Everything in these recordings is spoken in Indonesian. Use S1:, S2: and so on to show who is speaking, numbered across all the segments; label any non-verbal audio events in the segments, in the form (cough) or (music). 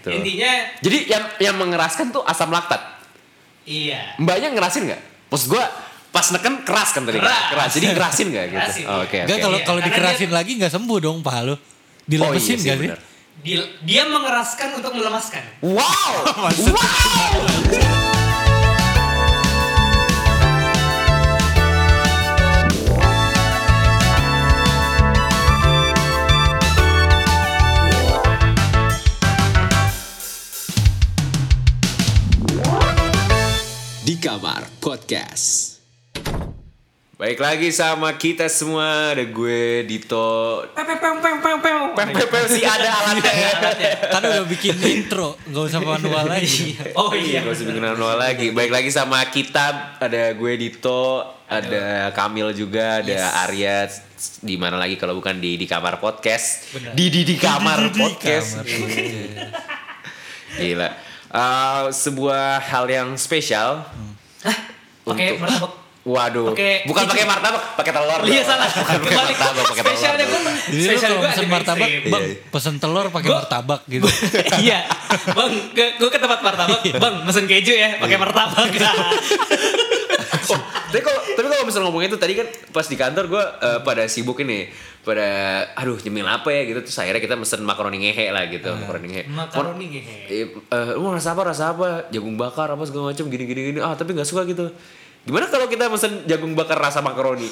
S1: gitu.
S2: Intinya
S1: Jadi yang yang mengeraskan tuh asam laktat.
S2: iya.
S1: Mbaknya ngerasin nggak? Maksud gua pas neken keras kan tadi. kan?
S2: Keras.
S1: Keras. Jadi ngerasin nggak gitu?
S2: Ngerasin.
S1: Oh, Oke.
S3: Enggak
S1: oke. Oh, iya
S3: kalau
S2: Iya,
S3: kalau
S2: karena
S3: dikerasin lagi nggak sembuh dong paha lu. Dilemesin nggak sih?
S1: bener.
S2: Dia, dia mengeraskan untuk melemaskan.
S1: Wow. wow.
S4: Di Kamar Podcast.
S1: Baik lagi sama kita semua ada gue Dito.
S2: Pepeng peng peng peng peng.
S1: PPP sih ada alatnya.
S2: (laughs)
S1: ya.
S3: Kan udah bikin intro, nggak usah manual
S1: (laughs)
S3: lagi.
S2: Oh iya.
S1: Gak usah bikin manual lagi. Baik lagi sama kita ada gue Dito, ada Kamil juga, ada Arya. Di mana lagi kalau bukan di di kamar podcast.
S2: Benar.
S1: Di di di kamar
S3: Di
S1: podcast.
S3: kamar. Iya.
S1: Gila. Eh, sebuah hal yang spesial.
S3: Hmm.
S2: Oke,
S1: Untuk-
S2: martabak.
S1: Waduh,
S2: Pakai-
S1: bukan pakai martabak, pakai telur.
S2: Iya
S1: dong.
S2: salah.
S1: Bukan pakai
S2: Kembali.
S1: martabak, pakai telur.
S2: Spesialnya gue
S3: Jadi lu kalau pesen
S2: (laughs)
S3: martabak,
S1: Iya,
S3: bang
S1: iya.
S3: pesen telur pakai
S2: Gua-
S3: martabak gitu. (laughs)
S2: iya, bang, gue, gue ke tempat martabak,
S1: Iya.
S2: bang, mesen keju ya, pakai
S1: (laughs)
S2: martabak.
S1: Oh, tapi kalau tapi kalau misalnya ngomongin itu tadi kan pas di kantor gue pada sibuk ini pada aduh nyemil apa ya gitu terus akhirnya kita mesen makaroni ngehe lah gitu makaroni ngehe
S2: Ah, Makaroni ngehe.
S1: Eh, eh, lu mau rasa apa rasa apa jagung bakar apa segala macam gini gini gini ah tapi nggak suka gitu gimana kalau kita mesen jagung bakar rasa
S2: (laughs)
S1: makaroni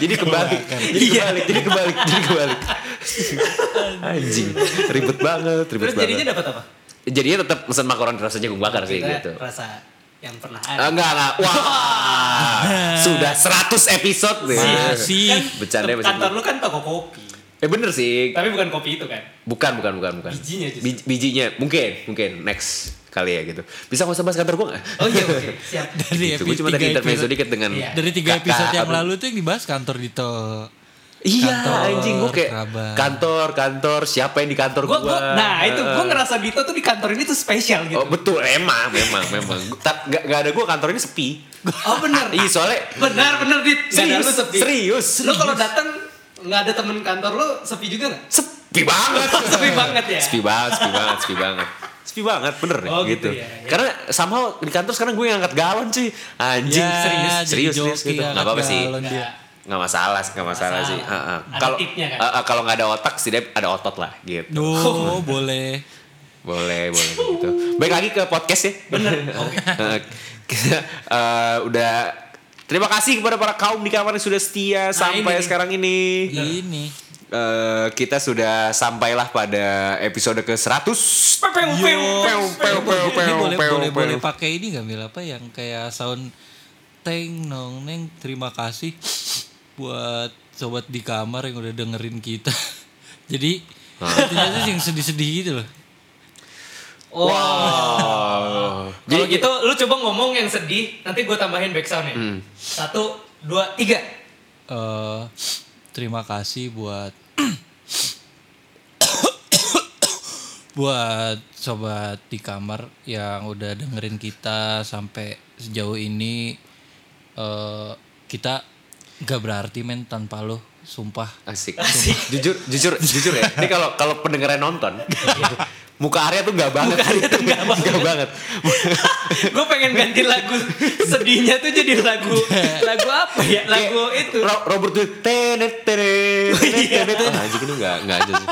S1: jadi kebalik jadi kebalik jadi
S2: Iya.
S1: kebalik jadi
S2: (laughs)
S1: kebalik anjing ribet banget ribet
S2: Terus jadinya
S1: banget
S2: dapat apa?
S1: jadinya tetap mesen makaroni rasa jagung bakar sih
S2: Kita
S1: gitu
S2: rasa yang pernah ada.
S1: Ah, enggak enggak. Wah.
S2: (laughs)
S1: Sudah 100 episode nih.
S3: Masih.
S2: Kan
S1: Bercanda,
S2: tem-
S1: bercanda.
S2: Kantor lu kan toko kopi,
S1: Eh bener sih.
S2: tapi bukan kopi itu kan?
S1: Bukan bukan bukan bukan.
S2: Bijinya justru.
S1: Bij- bijinya mungkin mungkin next kali ya gitu. Bisa nggak usah bahas kantor gua enggak?
S2: Oh iya, oke, siap.
S3: Dari
S1: Gitu. Gue cuma
S3: iya, tiga
S1: tadi intermezzo
S3: episode-
S1: dikit dengan
S2: Iya.
S3: dari tiga
S1: kakak
S3: episode yang
S1: Abdul.
S3: lalu tuh yang dibahas kantor Dito.
S1: (laughs) Iya,
S3: Kantor,
S1: anjing gue kayak
S3: kerabat.
S1: kantor, kantor, siapa yang di kantor
S2: Gua,
S1: gua?
S2: gua, nah itu gue
S1: Eh,
S2: ngerasa Dito tuh di kantor ini tuh spesial gitu.
S1: Oh betul, emang, memang, memang. Tak, gak, ada gue kantor ini sepi.
S2: Oh bener.
S1: (laughs) Iya soalnya
S2: Benar benar dit. Gak ada
S1: serius,
S2: lu sepi.
S1: serius.
S2: Lu kalau datang nggak ada temen kantor lu sepi juga nggak?
S1: sepi banget.
S2: (laughs) sepi banget ya.
S1: sepi banget, sepi banget, sepi banget. Sepi banget, bener
S2: Oh,
S1: ya,
S2: gitu
S1: gitu.
S2: ya, ya.
S1: Karena somehow di kantor sekarang gue yang angkat galon cuy. Anjing,
S3: Ya,
S1: serius,
S3: jadi
S1: serius, serius
S3: joki
S1: gitu.
S3: angkat
S1: Gak apa-apa sih.
S3: galon dia.
S2: Nggak.
S1: Gak masalah, gak masalah, sih.
S2: masalah.
S1: Heeh.
S2: Ada
S1: Kalau
S2: tipnya kan?
S1: heeh, kalau nggak ada otak sih ada otot lah gitu.
S3: Oh, boleh.
S1: Boleh, boleh gitu. Baik lagi ke podcast ya. (laughs)
S2: Bener. Oke.
S1: Eh, kita eh, udah terima kasih kepada para kaum di kamar yang sudah setia sampai
S2: Nah, ini nih.
S1: sekarang ini.
S3: Ini.
S1: Eh, kita sudah sampailah pada episode ke 100
S2: Pepeng, pepeng, pepeng, pepeng.
S3: Ini Iya. boleh boleh boleh pakai ini nggak Mil apa yang kayak sound teng nong neng terima kasih buat sobat di kamar yang udah dengerin kita. (laughs) Jadi intinya tuh yang sedih-sedih gitu loh.
S2: Wow.
S1: Wow.
S2: Oh. Kalau gitu lu coba ngomong yang sedih, nanti gue tambahin back sound ya.
S1: Hmm.
S2: Satu, dua, tiga. (laughs)
S3: Eh, terima kasih buat buat sobat di kamar yang udah dengerin kita sampai sejauh ini eh kita gak berarti men tanpa lo sumpah
S1: asik. Jujur, jujur, jujur ya. Ini kalau kalau pendengarnya (laughs) nonton, muka Arya tuh nggak banget. Muka Arya tuh (laughs) nggak banget.
S2: gue pengen ganti lagu sedihnya tuh jadi lagu lagu apa ya? Lagu
S1: Kayak
S2: itu.
S1: Ro- Robert tuh tenet tenet tenet, tenet. Ah, Anjing ini nggak nggak aja sih.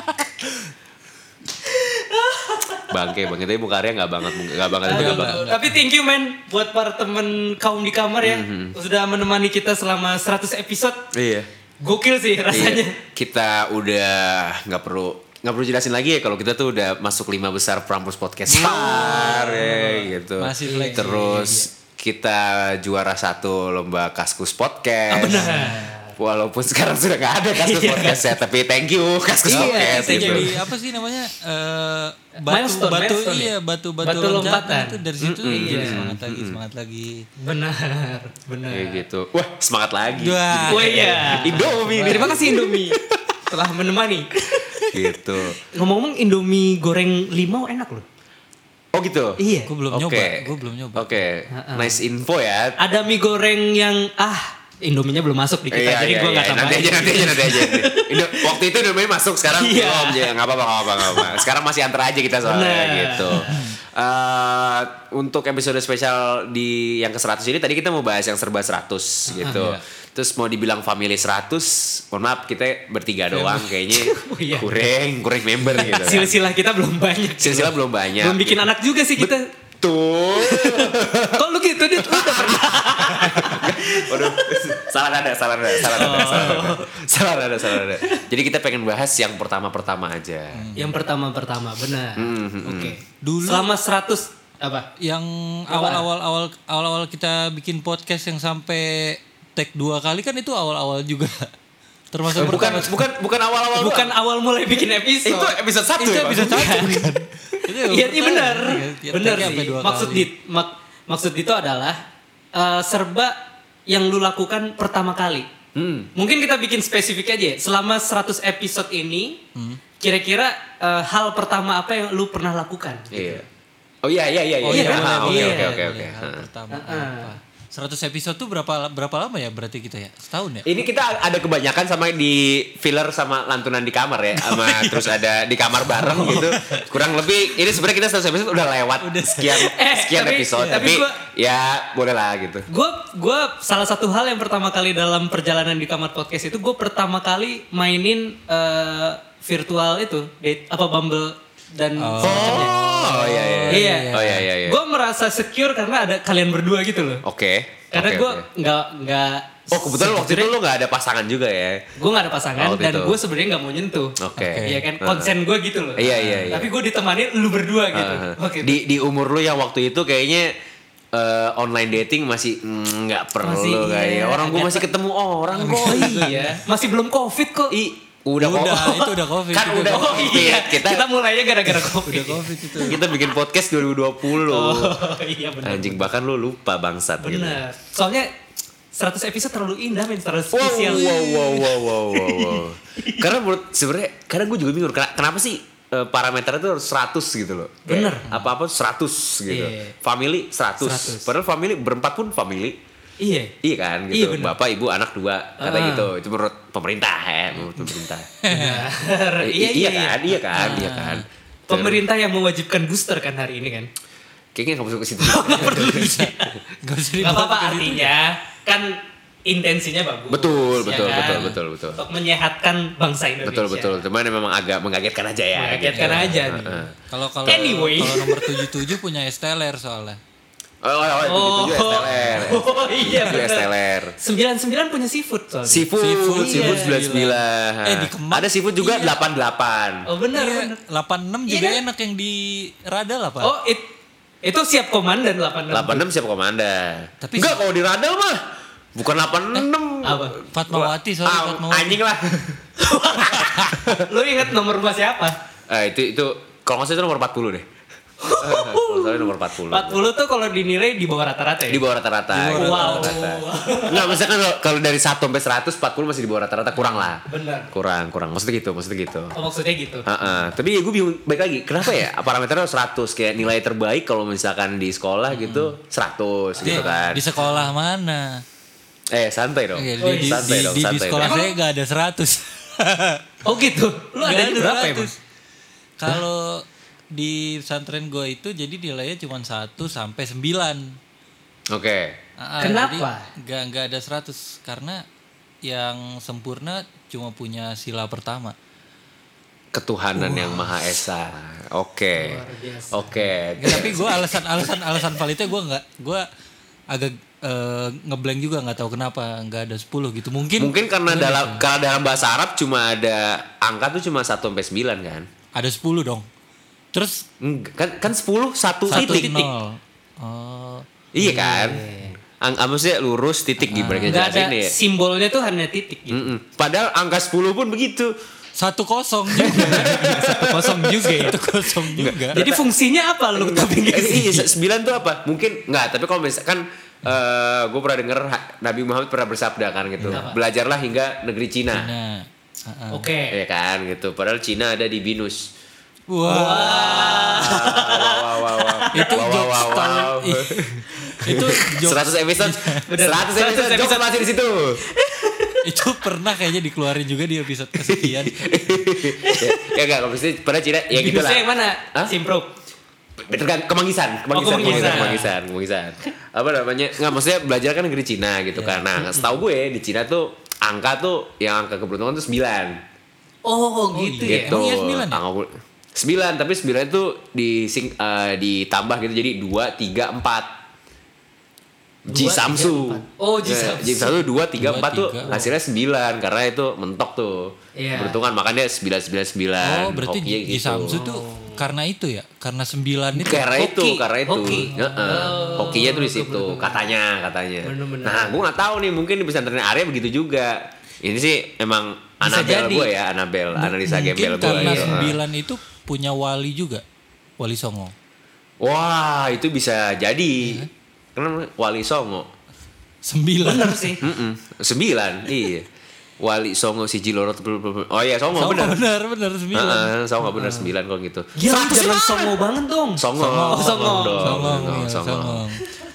S1: Bangke, bangke. Tapi muka Arya nggak banget, nggak banget, itu nggak banget.
S2: Aduh, Tapi thank you man buat para temen kaum di kamar ya
S1: Hmm.
S2: sudah menemani kita selama 100 episode.
S1: Iya.
S2: Gokil sih
S1: Iya,
S2: rasanya.
S1: kita udah nggak perlu nggak perlu jelasin lagi ya kalau kita tuh udah masuk lima besar Prambors Podcast Star ya, gitu.
S3: Iya. Masih fleksibel. Iya.
S1: Terus kita juara satu lomba Kaskus Podcast.
S3: Ah,
S1: Walaupun sekarang sudah nggak ada Kaskus
S3: Iya.
S1: Podcast ya, tapi thank you Kaskus Podcast
S3: kita
S1: gitu.
S3: jadi apa sih namanya eh, batu
S2: Milestone,
S3: batu
S2: milestone ya?
S3: iya batu batu,
S2: Batu
S3: loncatan
S2: lompatan.
S3: itu dari situ jadi semangat lagi semangat lagi
S2: Benar, benar.
S1: Kayak gitu. Wah, semangat lagi.
S3: Wah.
S2: Oh iya.
S1: Indomie.
S2: Terima kasih Indomie telah menemani.
S1: gitu.
S2: Ngomong-ngomong Indomie goreng limau enak loh.
S1: Oh gitu.
S2: Iya.
S3: gue belum
S1: Oke.
S3: nyoba gue belum nyoba
S1: Oke. Nice info ya.
S2: Ada mie goreng yang ah Indominya belum masuk di kita,
S1: Iya,
S2: jadi
S1: iya,
S2: gue
S1: iya.
S2: nggak tambahin.
S1: Nanti aja, nanti aja, nanti aja. Indo, waktu itu Indomie masuk, sekarang
S2: Iya.
S1: belum. Ya, nggak apa-apa, nggak apa-apa, nggak apa-apa. Sekarang masih antar aja kita soalnya
S2: Bener.
S1: gitu. Eh, untuk episode spesial di yang ke-100 ini, tadi kita mau bahas yang serba 100 gitu.
S2: Ah,
S3: iya.
S1: Terus mau dibilang family 100, mohon maaf kita bertiga doang kayaknya
S2: Iya. (laughs) Oh, iya.
S1: kurang, kurang member gitu kan.
S2: Silsilah kita belum banyak.
S1: Silsilah belum banyak. gitu.
S2: belum bikin anak juga sih kita.
S1: Tuh.
S2: Kok lu gitu, Dit? Lu udah pernah?
S1: Waduh, (laughs) salah nada, salah nada, salah nada, salah nada, salah nada, salah nada. Jadi kita pengen bahas yang pertama-pertama aja.
S2: Yang pertama-pertama, benar.
S1: Hmm,
S2: Oke.
S3: Dulu-
S2: Selama 100 apa?
S3: yang awal-awal awal awal-awal kita bikin podcast yang sampai tag dua kali kan itu awal-awal juga (laughs)
S1: Eh,
S3: termasuk
S1: bukan,
S3: pertama-
S1: bukan, bukan awal-awal.
S2: Bukan awal mulai bikin episode.
S1: Itu episode satu
S3: itu
S1: ya,
S3: episode
S1: Bang?
S3: satu kan
S2: Iya, iya benar. Benar sih. Maksud
S3: maksud
S2: dit mak- maksud itu adalah eh, serba yang lu lakukan pertama kali.
S1: Hmm,
S2: Mungkin kita bikin spesifik aja ya. Selama 100 episode ini, kira-kira eh, hal pertama apa yang lu pernah lakukan?
S1: Iya. Oh iya, iya, iya,
S3: oh
S1: iya.
S3: iya
S1: Ah, Oke,
S3: boleh, boleh,
S1: oke, oke,
S3: boleh.
S1: oke.
S3: Hal
S1: Heeh.
S3: pertama apa? 100 episode tuh berapa berapa lama ya berarti kita ya
S2: Iya.
S3: setahun ya
S1: Ini kita ada kebanyakan sama di filler sama lantunan di kamar ya, sama terus ada di kamar bareng gitu. Kurang lebih ini sebenarnya kita satu episode udah lewat sekian
S2: Eh,
S1: sekian
S2: tapi-
S1: episode,
S2: tapi
S1: tapi,
S2: gua-
S1: ya boleh lah gitu.
S2: Gue gue salah satu hal yang pertama kali dalam perjalanan di kamar podcast itu gue pertama kali mainin eh, virtual itu date apa Bumble dan semacamnya.
S1: Oh iya iya.
S2: Iya.
S1: Oh iya iya. iya.
S2: Gue merasa secure karena ada kalian berdua gitu loh.
S1: Oke.
S2: Karena
S1: oke,
S2: gue
S1: oke.
S2: nggak nggak.
S1: Oh kebetulan waktu itu lo nggak ada pasangan juga ya?
S2: gue nggak ada pasangan
S1: Waktu
S2: dan
S1: itu.
S2: gue sebenarnya nggak mau nyentuh.
S1: gitu. Oke.
S2: Iya kan konsen gue gitu loh.
S1: Iya, iya, iya.
S2: Tapi gue ditemani lu berdua gitu.
S1: Uh-huh.
S2: Oke.
S1: Di di umur lo yang waktu itu kayaknya eh, online dating masih mm, nggak perlu
S2: Masih, iya,
S1: kayaknya. Orang gue
S2: agak-
S1: masih ketemu orang kok.
S2: Oh iya. Masih belum covid kok.
S1: I udah
S3: Udah,
S1: kok.
S3: itu udah covid,
S1: Kan
S3: itu
S1: udah
S2: Oh
S1: covid.
S2: iya.
S1: Kita Iya.
S2: Kita, mulainya gara-gara covid.
S3: udah covid itu
S1: kita bikin podcast 2020.
S2: Oh iya benar.
S1: Anjing bahkan lo lupa bangsat gitu.
S2: Benar. Soalnya 100 episode terlalu indah men, terlalu
S1: Wow,
S2: spesial.
S1: wow, wow, wow, wow, wow, wow. karena menurut sebenarnya karena gue juga bingung ken- kenapa sih eh, parameternya tuh harus 100 gitu loh. Kayak
S2: Bener.
S1: Apa-apa 100 gitu.
S2: Iya.
S1: Family 100.
S2: 100.
S1: Padahal family berempat pun family.
S2: Iya.
S1: Iya kan
S2: Iya,
S1: gitu.
S2: bener.
S1: Bapak, ibu, anak dua kata
S2: Ah.
S1: gitu. Itu menurut pemerintah ya, menurut pemerintah. (laughs)
S2: Benar.
S1: Eh,
S2: (laughs) iya,
S1: i-
S2: iya,
S1: kan, iya kan, iya kan.
S2: Pemerintah yang mewajibkan booster kan hari ini kan.
S1: Kayaknya gak masuk ke
S2: (laughs)
S1: situ.
S3: Gak usah
S2: Gak
S3: dibawa
S2: apa-apa
S3: ke situ.
S2: artinya kan intensinya bagus. ya
S1: Betul, betul,
S2: kan?
S1: betul, betul, betul.
S2: Untuk menyehatkan bangsa Indonesia.
S1: betul, betul. Cuman memang agak mengagetkan aja ya.
S2: Mengagetkan
S1: gitu.
S2: aja nih.
S1: Heeh.
S3: kalau kalau
S2: Anyway.
S3: kalau nomor 77 punya esteller soalnya
S1: Oh, oh, oh,
S2: Oh,
S1: itu STLR.
S2: (laughs) oh iya
S1: Itu STLR.
S2: benar. 99 punya seafood soalnya.
S1: Seafood,
S3: Seafood,
S1: seafood,
S3: iya.
S1: 99.
S3: Eh, di Kemang.
S1: Ada seafood juga
S3: Iya.
S1: 88.
S2: Oh benar.
S3: Iya,
S2: benar.
S3: 86 juga
S2: Iya kan?
S3: enak yang di Radal apa?
S2: Oh it- itu siap komandan 86.
S1: 86 siapa komanda?
S3: Tapi- Eh,
S1: Enggak kalau di Radal mah bukan 86.
S2: Apa?
S3: Fatmawati sorry
S1: Ah,
S3: Fatmawati.
S1: anjing
S3: (laughs)
S1: lah.
S2: Lo ingat nomor rumah siapa?
S1: Eh, itu itu kalau nggak salah itu nomor 40 deh. Eh, kalau nggak salah nomor 40.
S2: 40 tuh kalau dinilai di bawah rata-rata ya.
S1: Di bawah rata-rata.
S3: Di bawah
S1: gitu,
S2: wow.
S1: rata-rata. Nggak, misalkan kalau- kalau dari 1 sampai 100, 40 masih di bawah rata-rata kurang lah.
S2: Benar.
S1: Kurang, kurang. Maksudnya gitu, maksudnya gitu.
S2: Oh, maksudnya gitu.
S1: Heeh. Tapi ya gue bingung baik lagi kenapa ya parameternya 100 kayak nilai terbaik kalau misalkan di sekolah gitu 100
S2: iya
S3: Di,
S1: gitu kan.
S3: Iya, di sekolah mana?
S1: Eh santai dong.
S3: Iya, di,
S2: Oh,
S3: di,
S2: iya.
S1: santai
S3: di-
S1: dong,
S3: di- di
S1: santai.
S3: sekolah
S1: dong.
S3: saya gak ada 100.
S2: Oh gitu. Lu
S3: Nggak
S2: ada di berapa ya,
S3: 100.
S2: Mas?
S3: Kalau di pesantren gue itu jadi nilainya cuma 1 sampai 9.
S1: Oke.
S3: Ah, ah,
S2: Kenapa?
S3: jadi Nggak nggak ada 100 karena yang sempurna cuma punya sila pertama.
S1: Ketuhanan yang Maha Esa. Oke.
S2: biasa.
S1: Oke.
S3: Nggak, tapi gue alasan alasan alasan validnya gue nggak gue agak eh, ngeblank juga nggak tahu kenapa nggak ada 10 gitu mungkin
S1: Mungkin karena dalam karena dalam bahasa Arab cuma ada angka tuh cuma 1 sampai 9 kan.
S3: ada 10 dong terus
S1: Enggak, Kan kan 10 1
S3: satu
S1: titik.
S3: nol oh
S1: Iya kan? Ang ah, maksudnya lurus titik gimana
S2: Nggak ada
S1: jelasin ya.
S2: simbolnya tuh hanya titik gitu.
S1: Mm-mm. Padahal angka 10 pun begitu.
S3: satu (laughs) kosong juga satu kosong juga ya? satu kosong juga
S2: Jadi fungsinya apa lu gitu? tapi
S1: Eh, Iya, se- sembilan tuh apa? Mungkin nggak, tapi kalau misalkan eh gue pernah denger ha- Nabi Muhammad pernah bersabda kan gitu. Belajarlah hingga negeri Cina.
S3: nah ah, ah.
S2: Oke.
S1: Ya kan gitu. Padahal Cina ada di Binus.
S3: wah
S2: Ah,
S1: Wah, wah, wah, wah.
S3: itu
S1: Wow, wow,
S3: jokes
S1: wow,
S3: tahun (laughs)
S1: wow.
S3: itu jokes
S1: 100 episode 100 episode
S2: 100
S1: jokes
S2: episode.
S1: masih di situ
S3: itu pernah kayaknya dikeluarin juga di episode
S1: (laughs)
S3: kesekian
S1: ya enggak kalau misalnya pada Cina ya gitu lah
S2: yang mana?
S1: Hah?
S2: Simpro.
S1: Tergantung kemanggisan, kemanggisan,
S2: Kemanggisan.
S1: kemanggisan, kemanggisan, kemanggisan. Apa namanya? Nggak, maksudnya belajar kan negeri Cina gitu kan. Nah, setahu gue di Cina tuh angka tuh yang angka keberuntungan tuh 9.
S2: Oh, gitu ya.
S1: gitu.
S3: Emang iya 9 ya?
S1: Angka kebur- 9, tapi 9 itu di sing- eh, ditambah gitu jadi 2 3 4. Ji
S3: Dua, tiga,
S1: Samsu.
S3: empat.
S2: Oh, Ji
S1: Ya,
S2: Samsu.
S1: Ji Samsu 2 3
S3: Dua,
S1: 4 tuh
S3: tiga.
S1: hasilnya 9 karena itu mentok tuh.
S2: Iya.
S1: Keberuntungan makanya 999.
S3: oh berarti
S1: Hokinya gitu.
S3: di Samsu tuh karena itu ya karena sembilan itu
S1: karena
S2: Hoki.
S1: itu karena itu
S2: Hoki.
S1: Heeh.
S2: Oh,
S1: hokinya tuh di situ
S2: bener-bener.
S1: katanya katanya
S2: Bener-bener.
S1: nah gue nggak tahu nih mungkin di pesantren Arya begitu juga ini sih emang
S2: Bisa
S1: Anabel
S2: jadi.
S1: gue ya Anabel analisa
S3: mungkin
S1: gembel gue
S3: karena
S1: ya.
S3: sembilan itu punya wali juga wali songo
S1: wah itu bisa jadi karena Wali Songo
S3: sembilan
S2: Bener sih.
S1: Mm-mm. sembilan iya Wali Songo si Jiloro oh iya Songo,
S3: songo
S1: bener
S3: bener bener sembilan
S1: Heeh, Songo bener sembilan kalau gitu
S2: Gila, jangan songo banget dong.
S1: Songo,
S3: Songong.
S2: Songong.
S1: dong,
S3: Songong,
S1: Songong,
S3: iya,
S1: Songong.
S3: Songong.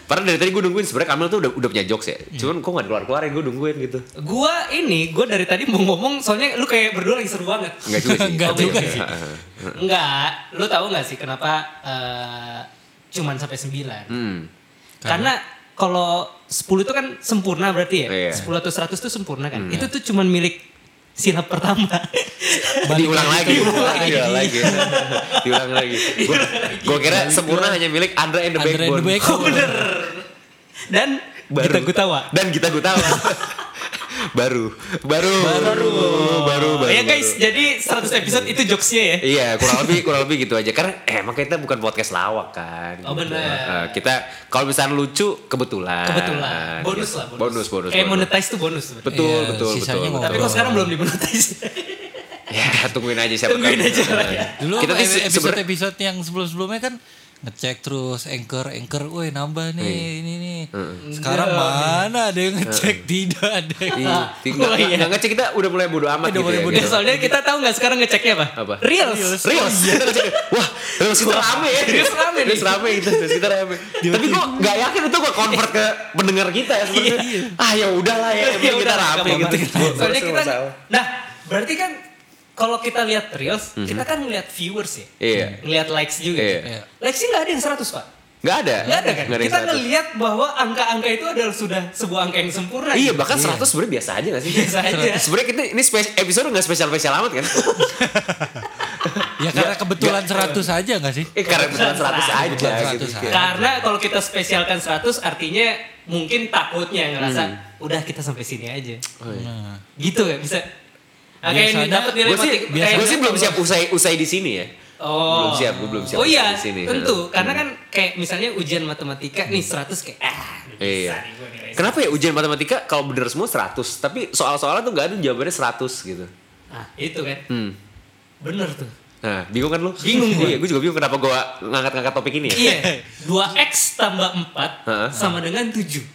S1: Padahal dari tadi gue nungguin sebenarnya Kamil tuh udah udah punya jokes ya. Cuman kok gak keluar-keluarin gue nungguin gitu.
S2: Gua ini, gua dari tadi mau ngomong soalnya lu kayak berdua lagi seru banget.
S1: Enggak juga sih.
S3: Nggak
S1: Oke,
S3: juga
S1: oke.
S3: sih.
S1: Heeh.
S2: Enggak, lu tahu nggak sih kenapa eh, cuman sampai 9?
S1: Hmm.
S2: Karena kalau 10 itu kan sempurna berarti ya.
S1: Iya. Hmm.
S2: 10 atau 100 itu sempurna kan. Itu tuh cuman milik silap
S1: (laughs)
S2: pertama.
S1: Diulang lagi, diulang
S3: Diulang
S1: lagi, diulang lagi. Diulang (laughs) lagi. Gue kira sempurna hanya milik Andra and the
S3: Andra and
S1: Backbone.
S3: the
S2: oh,
S3: Backbone.
S2: bener. Dan
S1: Baru.
S2: kita gutawa.
S1: Dan kita
S2: (laughs)
S1: gutawa. baru, baru, baru, Oh, baru, baru.
S2: ya guys,
S1: baru.
S2: jadi 100 episode itu jokesnya ya.
S1: Iya, kurang lebih kurang lebih gitu aja. Karena eh, emang kita bukan podcast lawak kan.
S2: Oh,
S1: Gitu.
S2: bener.
S1: Eh, kita kalau misalnya lucu kebetulan.
S2: Kebetulan. Bonus lah.
S1: Bonus, bonus.
S2: Eh,
S1: bonus.
S2: monetize tuh bonus. sebenarnya.
S1: Betul,
S3: Iya,
S1: betul,
S3: sisanya
S1: betul.
S3: ngomong.
S2: Tapi kok sekarang belum dimonetize?
S1: Ya, tungguin aja siapa
S2: Tungguin
S1: tahu.
S2: aja lah ya.
S3: Dulu
S1: kita
S3: apa,
S1: tuh se-
S3: episode
S1: sebener-
S3: episode yang sebelum sebelumnya kan ngecek terus anchor anchor, woi nambah nih
S1: Iya.
S3: ini nih. Sekarang mana ada yang ngecek tidak ada. Yang...
S2: (laughs)
S1: Iya, tinggal-
S2: Oh, iya.
S1: nggak ngecek kita udah mulai bodo amat
S3: Udah
S1: gitu
S3: mulai
S1: ya,
S3: bodo
S2: Ya,
S1: gitu.
S2: (laughs) soalnya kita tahu nggak sekarang ngeceknya apa?
S1: Apa?
S2: Reels.
S1: Reels, Oh, (laughs) iya. kita ngecek, wah reels kita rame ya
S2: Reels Oh, iya. rame nih.
S1: Reels rame gitu, reels kita rame Tapi kok gak yakin itu gue convert ke pendengar kita ya sebenarnya Ah ya udahlah ya,
S2: (laughs) Ya
S1: kita
S2: udah,
S1: rame
S2: gampang
S1: gitu
S2: banget.
S1: Gua- gua
S2: Soalnya
S1: rasa
S2: kita
S1: masalah.
S2: Nah, berarti kan kalau kita lihat reels, kita kan ngelihat viewers ya.
S1: Mhm. Iya.
S2: Ngelihat likes juga. gitu.
S1: Iya.
S3: Iya.
S2: Likesnya nggak ada yang 100, Pak.
S1: Gak ada
S2: Nggak ada kan?
S1: Nggak yang
S2: kita
S1: 100.
S2: ngelihat bahwa angka-angka itu adalah sudah sebuah angka yang sempurna.
S1: Iya
S2: gitu.
S1: bahkan 100 sebenarnya biasa aja gak sih?
S2: Biasa aja.
S1: (laughs) Sebenarnya kita ini spes- episode gak spesial-spesial amat kan?
S3: Ya karena
S1: Iya.
S3: kebetulan 100 aja nggak sih?
S1: Eh karena episode 100 aja
S3: Kebetulan
S1: gitu
S3: 100 aja.
S2: Karena kalau kita spesialkan 100 artinya mungkin takutnya ngerasa
S1: Hmm.
S2: udah kita sampai sini aja.
S1: Oh, iya.
S3: Nah,
S2: Gitu ya bisa. Oke,
S3: Biasanya-
S2: ini dapat nilai
S1: Gue sih,
S2: mati-
S1: gua
S2: eh,
S1: sih belum siap usai usai di sini ya.
S2: Oh.
S1: Belum siap, gua belum siap
S2: Oh iya,
S1: di sini. Hmm.
S2: tentu. Karena kan kayak misalnya ujian matematika nih 100 kayak ah, bisa
S1: Iya.
S2: nih gua nilai.
S1: Kenapa ya ujian matematika kalau bener semua 100, tapi soal-soalnya tuh nggak ada jawabannya 100 gitu.
S2: Ah, itu kan.
S1: Hmm.
S2: Bener tuh.
S1: Nah, bingung kan lu?
S2: Bingung gua.
S1: Iya, gue juga bingung kenapa gue ngangkat-ngangkat topik ini ya.
S2: Iya. 2X tambah 4
S1: Heeh.
S2: sama dengan 7.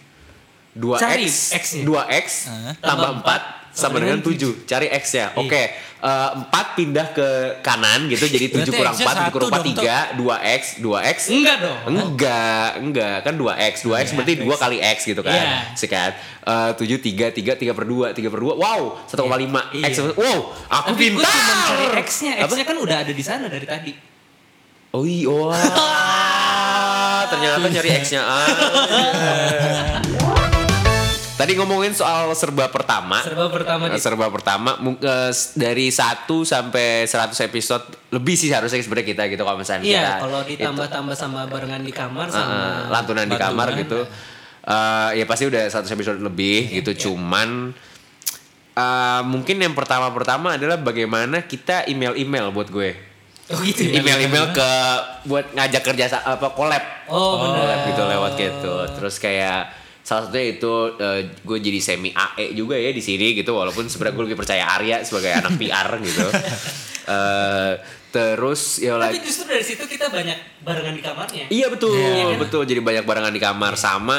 S1: 2
S2: Cari
S1: x,
S2: X-nya.
S1: 2 x
S3: Heeh.
S2: Tambah
S1: tambah 4 sama dengan 7. Cari x
S2: Iya.
S1: ya. Oke. Eh, 4 pindah ke kanan gitu jadi 7
S3: Berarti
S1: kurang
S3: X-nya
S1: 4, 7 kurang
S3: satu
S1: 4
S3: dong,
S1: 3, 2 x, 2 x.
S2: Enggak dong.
S1: Enggak, enggak. Kan 2X. 2X berarti 2 kali X gitu kan.
S2: Iya.
S1: Sekat. Eh 7, 3, 3, 3 per 2, 3 per 2. Wow, 1,5.
S2: Iya.
S1: X. Wow, aku
S2: Tapi gue
S1: pintar.
S2: cuma cari X-nya.
S1: Apa?
S2: X-nya kan udah ada di sana dari tadi.
S1: Oh iya. Wah, ternyata nyari X-nya. Ah. Tadi ngomongin soal serba pertama.
S2: Serba pertama
S1: Nah,
S2: di
S1: serba pertama mu- eh, s- dari 1 sampai 100 episode lebih sih harusnya sebenarnya kita gitu kalau misalnya kita
S2: Iya, kalau
S1: itu- Ah,
S2: ditambah-tambah sama barengan di kamar sama
S1: Heeh, lantunan di kamar
S3: Lantunan.
S1: gitu. Eh, ya pasti udah satu episode lebih
S2: Iya,
S1: gitu. Cuman eh, mungkin yang pertama-pertama adalah bagaimana kita email-email buat gue.
S2: Oh gitu ya.
S1: Email-email ke buat ngajak kerja sa- apa collab.
S2: Oh,
S1: Collab
S2: benar.
S1: gitu lewat gitu. Terus kayak salah satunya itu eh, gue jadi semi AE juga ya di sini gitu walaupun sebenarnya gue lebih percaya Arya sebagai anak PR
S2: (laughs)
S1: gitu. Eh, terus ya
S2: Tapi
S1: lagi
S2: justru dari situ kita banyak barengan di kamarnya.
S3: Iya,
S1: Iya betul, betul. Jadi banyak barangan di kamar sama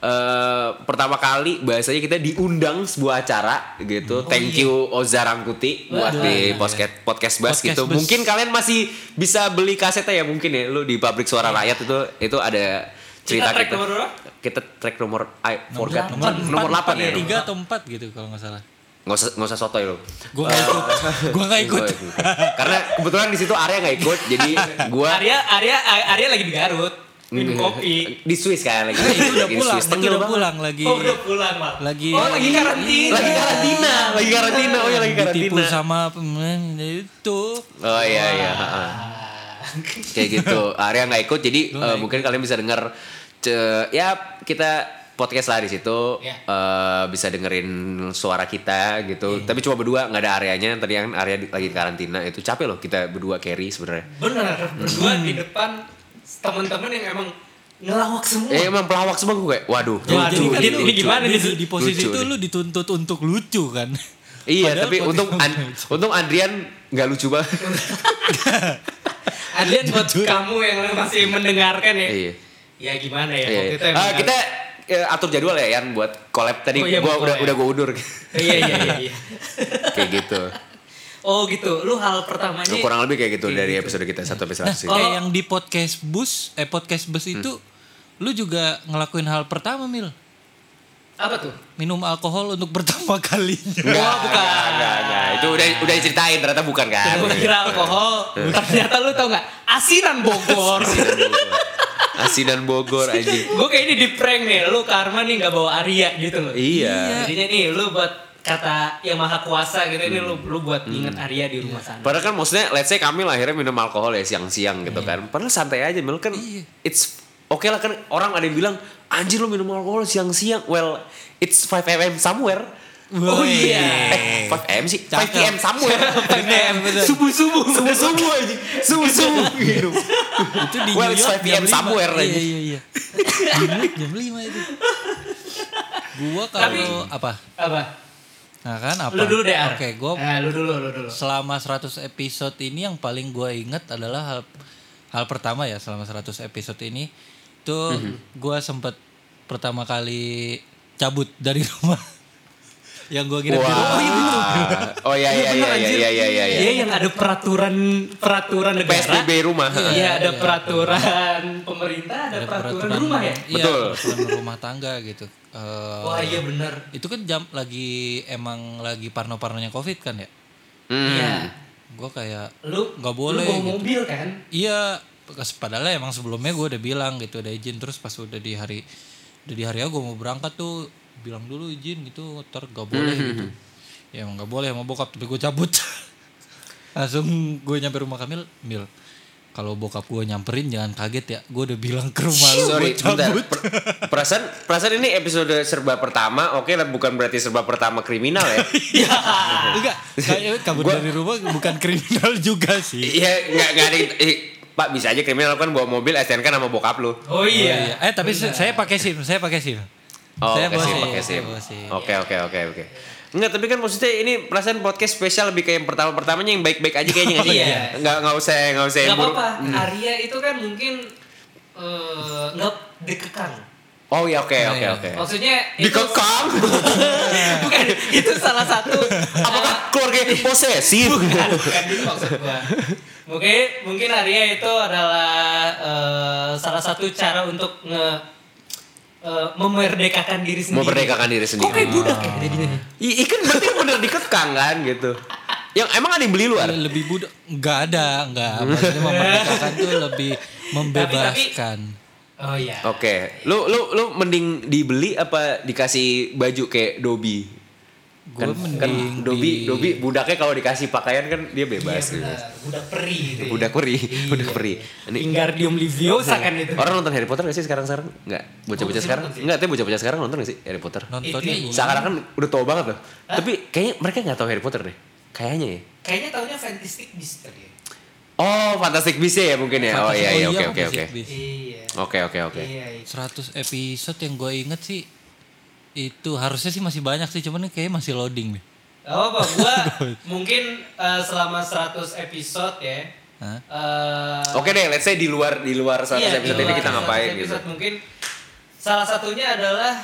S1: eh, pertama kali bahasanya kita diundang sebuah acara gitu. Thank you Oza Rangkuti buat
S3: Oh,
S1: di
S3: iya. Waduh.
S1: podcast podcast bus
S3: Podcast
S1: gitu.
S3: Bus.
S1: Mungkin kalian masih bisa beli kasetnya ya mungkin ya lu di pabrik
S3: Iya.
S1: suara rakyat itu itu ada cerita
S2: track
S1: kita.
S2: nomor berapa?
S1: Kita track nomor I forgot
S3: Nomor,
S1: nomor 8 ya.
S3: Tiga atau empat gitu kalau nggak salah.
S1: Nggak usah nggak usah sotoy lu.
S3: Gue nggak ikut.
S1: Iya.
S3: Gue nggak ikut.
S1: Karena kebetulan di situ Arya nggak ikut, jadi gua
S2: Arya Arya Arya lagi di Garut minum
S1: Iya.
S2: kopi.
S1: di Swiss kan lagi.
S3: (laughs) Itu udah
S1: Lagi di
S3: pulang.
S1: Swiss.
S3: Itu
S1: Tengil
S3: udah
S1: banget.
S3: pulang lagi.
S2: Oh udah pulang mal.
S3: Lagi-
S2: oh lagi karantina.
S1: Lagi karantina, lagi
S3: Iya.
S1: karantina. Oh ya lagi
S3: Ditipu
S1: karantina.
S3: sama pemain Nah, itu.
S1: Oh iya iya. ha-ha. Kayak gitu. Arya nggak ikut, jadi eh, mungkin kalian bisa denger ce- ya kita podcast lah di situ
S2: Iya.
S1: eh, bisa dengerin suara kita gitu. Tapi cuma berdua nggak ada areanya. Tadi kan Arya di- lagi di karantina itu capek loh kita berdua carry sebenarnya.
S2: Bener berdua di
S1: Hmm.
S2: depan teman-teman yang emang ngelawak semua.
S1: Eh emang pelawak semua gue kayak waduh.
S2: Waduh,
S3: Jadi kan
S2: ini-
S3: lu-
S2: ini gimana
S3: di,
S2: nih?
S3: di
S1: Lucu
S3: posisi itu
S1: nih.
S3: lu dituntut untuk lucu kan.
S1: Iya,
S3: Padahal
S1: tapi
S3: podcast
S1: untung
S3: nggak
S1: An-
S3: lucu.
S1: untung Andrian nggak lucu banget.
S2: Adrian buat kamu yang masih mendengarkan ya.
S1: Iya.
S2: Ya gimana ya?
S1: Iya,
S2: waktu itu
S1: iya.
S2: emang
S1: Ah, kita eh, atur jadwal ya Yan buat collab tadi.
S2: Oh, iya,
S1: gua
S2: buat
S1: udah
S2: collab.
S1: udah gua undur
S2: Iya iya iya. iya.
S1: (laughs) kayak gitu.
S2: Oh gitu. Lu hal pertamanya.
S1: Kurang lebih kayak gitu dari episode kita satu episode
S3: (laughs) Nah,
S1: sih. Hmm.
S3: kayak yang di podcast bus, eh podcast bus itu lu juga ngelakuin hal pertama Mil.
S2: Apa tuh?
S3: Minum alkohol untuk (laughs) pertama kalinya.
S1: Enggak,
S2: Wah, bukan.
S1: enggak, enggak, enggak. Itu udah udah diceritain ternyata bukan kan.
S2: Gue kira alkohol. Ternyata lu tau nggak? Asinan Bogor.
S1: Iya. Asinan Bogor. Asinan Bogor anjing.
S2: gue kayak ini di prank nih lu karma nih nggak bawa Arya gitu loh
S1: Iya.
S2: jadinya nih lu buat kata yang maha kuasa gitu ini lu lu buat inget Arya di rumah sana (laughs)
S1: Padahal kan maksudnya let's say kami akhirnya minum alkohol ya siang-siang gitu kan. Padahal santai aja Mel kan it's oke lah kan orang ada yang bilang anjir lu minum alkohol siang-siang. Well, it's 5 am somewhere.
S2: oh iya
S1: Eh, 5 am sih. 5
S3: Cakep.
S1: pm somewhere. 5 am. Subuh subuh. Subuh subuh aja. Subuh subuh. Minum.
S3: itu di
S1: Well,
S3: New
S1: it's 5 p.m.
S3: York jam lima.
S1: somewhere
S3: Iya
S1: lagi.
S3: iya iya. Di New York jam
S2: (laughs)
S3: 5 itu. Gua kalau apa?
S2: apa
S3: Nah kan apa?
S2: lu dulu deh Ar
S3: Oke, gua
S2: Nah, lu dulu lu dulu
S3: selama 100 episode ini yang paling gue inget adalah hal hal pertama ya selama 100 episode ini tuh
S1: Mhm.
S3: gue sempet pertama kali cabut dari (laughs) rumah yang gue kira di rumah itu
S1: Wah. Oh iya iya iya iya iya iya iya.
S2: Iya yang ada peraturan peraturan negara
S1: PSBB rumah.
S2: iya ada peraturan pemerintah ada, peraturan, rumah ya
S3: iya,
S1: Betul.
S3: peraturan rumah tangga gitu Eh,
S2: wah iya bener
S3: itu kan jam lagi emang lagi parno-parnonya covid kan ya
S1: Hmm.
S2: iya
S3: gue kayak
S2: lu
S3: Nggak boleh
S2: lu bawa
S3: gitu.
S2: mobil kan
S3: Iya, bekas- padahal emang sebelumnya gue udah bilang gitu, udah izin terus pas udah di hari udah di hari gue mau berangkat tuh bilang dulu izin gitu, ntar gak boleh
S1: Hmm,
S3: gitu. Ya emang gak boleh sama bokap, tapi gue cabut. (laughs) Langsung gue nyampe rumah Kamil, Mil. Kalau bokap gue nyamperin jangan kaget ya, gue udah bilang ke rumah lu
S1: Sorry,
S3: gue
S1: bentar.
S3: cabut.
S1: Per- Perasaan perasaan ini episode serba pertama. Oke lah bukan berarti serba pertama kriminal ya.
S3: Enggak,
S1: (laughs)
S3: kayak kabur
S1: Gua-
S3: dari rumah bukan kriminal juga sih.
S1: Iya, nggak nggak ada. yang- eh, Pak bisa aja kriminal kan bawa mobil STNK sama bokap lu.
S2: oh iya,
S3: Iya. Eh tapi se- saya pakai SIM, saya pakai SIM.
S1: Oh,
S3: saya
S1: pakai
S3: bawa
S1: SIM,
S3: SIM,
S1: pakai
S3: saya
S1: SIM.
S3: bawa SIM.
S1: Oke, oke, oke, oke. Enggak, tapi kan maksudnya ini perasaan podcast spesial lebih kayak yang pertama-pertamanya yang baik-baik aja kayaknya nggak sih?
S2: Iya.
S1: Nggak nggak usah nggak usah yang
S2: Gak
S1: buruk.
S2: apa-apa, Arya itu kan mungkin eh, nggak dikekang.
S1: Oh iya, oke, oke,
S3: iya.
S1: oke.
S2: Maksudnya itu-
S1: Dikekang.
S2: (laughs) bukan itu salah satu
S1: Apakah keluarga yang posesif?
S2: bukan, bukan itu maksud gua. Mungkin mungkin Arya itu adalah eh, salah satu cara untuk nge eh, memerdekakan diri sendiri.
S1: Memerdekakan diri sendiri.
S2: Kok kayak budak ya jadinya?
S1: Iya kan berarti bener dikekang kan gitu. Yang emang ada yang beli lu Ar?
S3: Iya,
S2: Iya,
S3: lebih budak nggak ada nggak
S2: (laughs)
S3: maksudnya memerdekakan tuh lebih membebaskan
S2: Oh iya.
S1: Oke, lu lu lu mending dibeli apa dikasih baju kayak Dobi?
S3: gue
S1: kan
S3: mending
S1: Dobi
S3: di-
S1: Dobi budaknya kalau dikasih pakaian kan dia bebas gitu.
S2: Iya, Benar, budak peri gitu. ya.
S1: Budak peri, budak peri. Ini
S2: Wingardium Liviosa kan itu.
S1: orang nonton Harry Potter gak sih sekarang sekarang? Enggak, bocah-bocah sekarang. Enggak, tapi bocah-bocah sekarang nonton gak sih Harry Potter?
S3: nontonnya
S2: Itu-
S1: Sekarang kan udah tua banget loh. Tapi kayaknya mereka nggak tahu Harry Potter deh. Kayaknya ya.
S2: Kayaknya taunya Fantastic Beasts kali ya.
S1: Oh, Fantastic Beasts ya mungkin ya. Oh iya iya oke oke oke.
S2: Iya.
S1: Oke oke oke.
S2: Iya, iya.
S3: 100 episode yang gue inget sih itu harusnya sih masih banyak sih cuman kayaknya masih loading nih
S2: Gak apa-apa,
S1: (laughs)
S2: gua mungkin eh, selama 100 episode ya.
S3: Hah?
S2: eh,
S1: Oke deh, let's say di luar di luar 100
S2: iya, di
S1: Oh, episode ini
S2: luar
S1: kita
S2: 100
S1: ngapain gitu.
S2: episode Mungkin Salah satunya adalah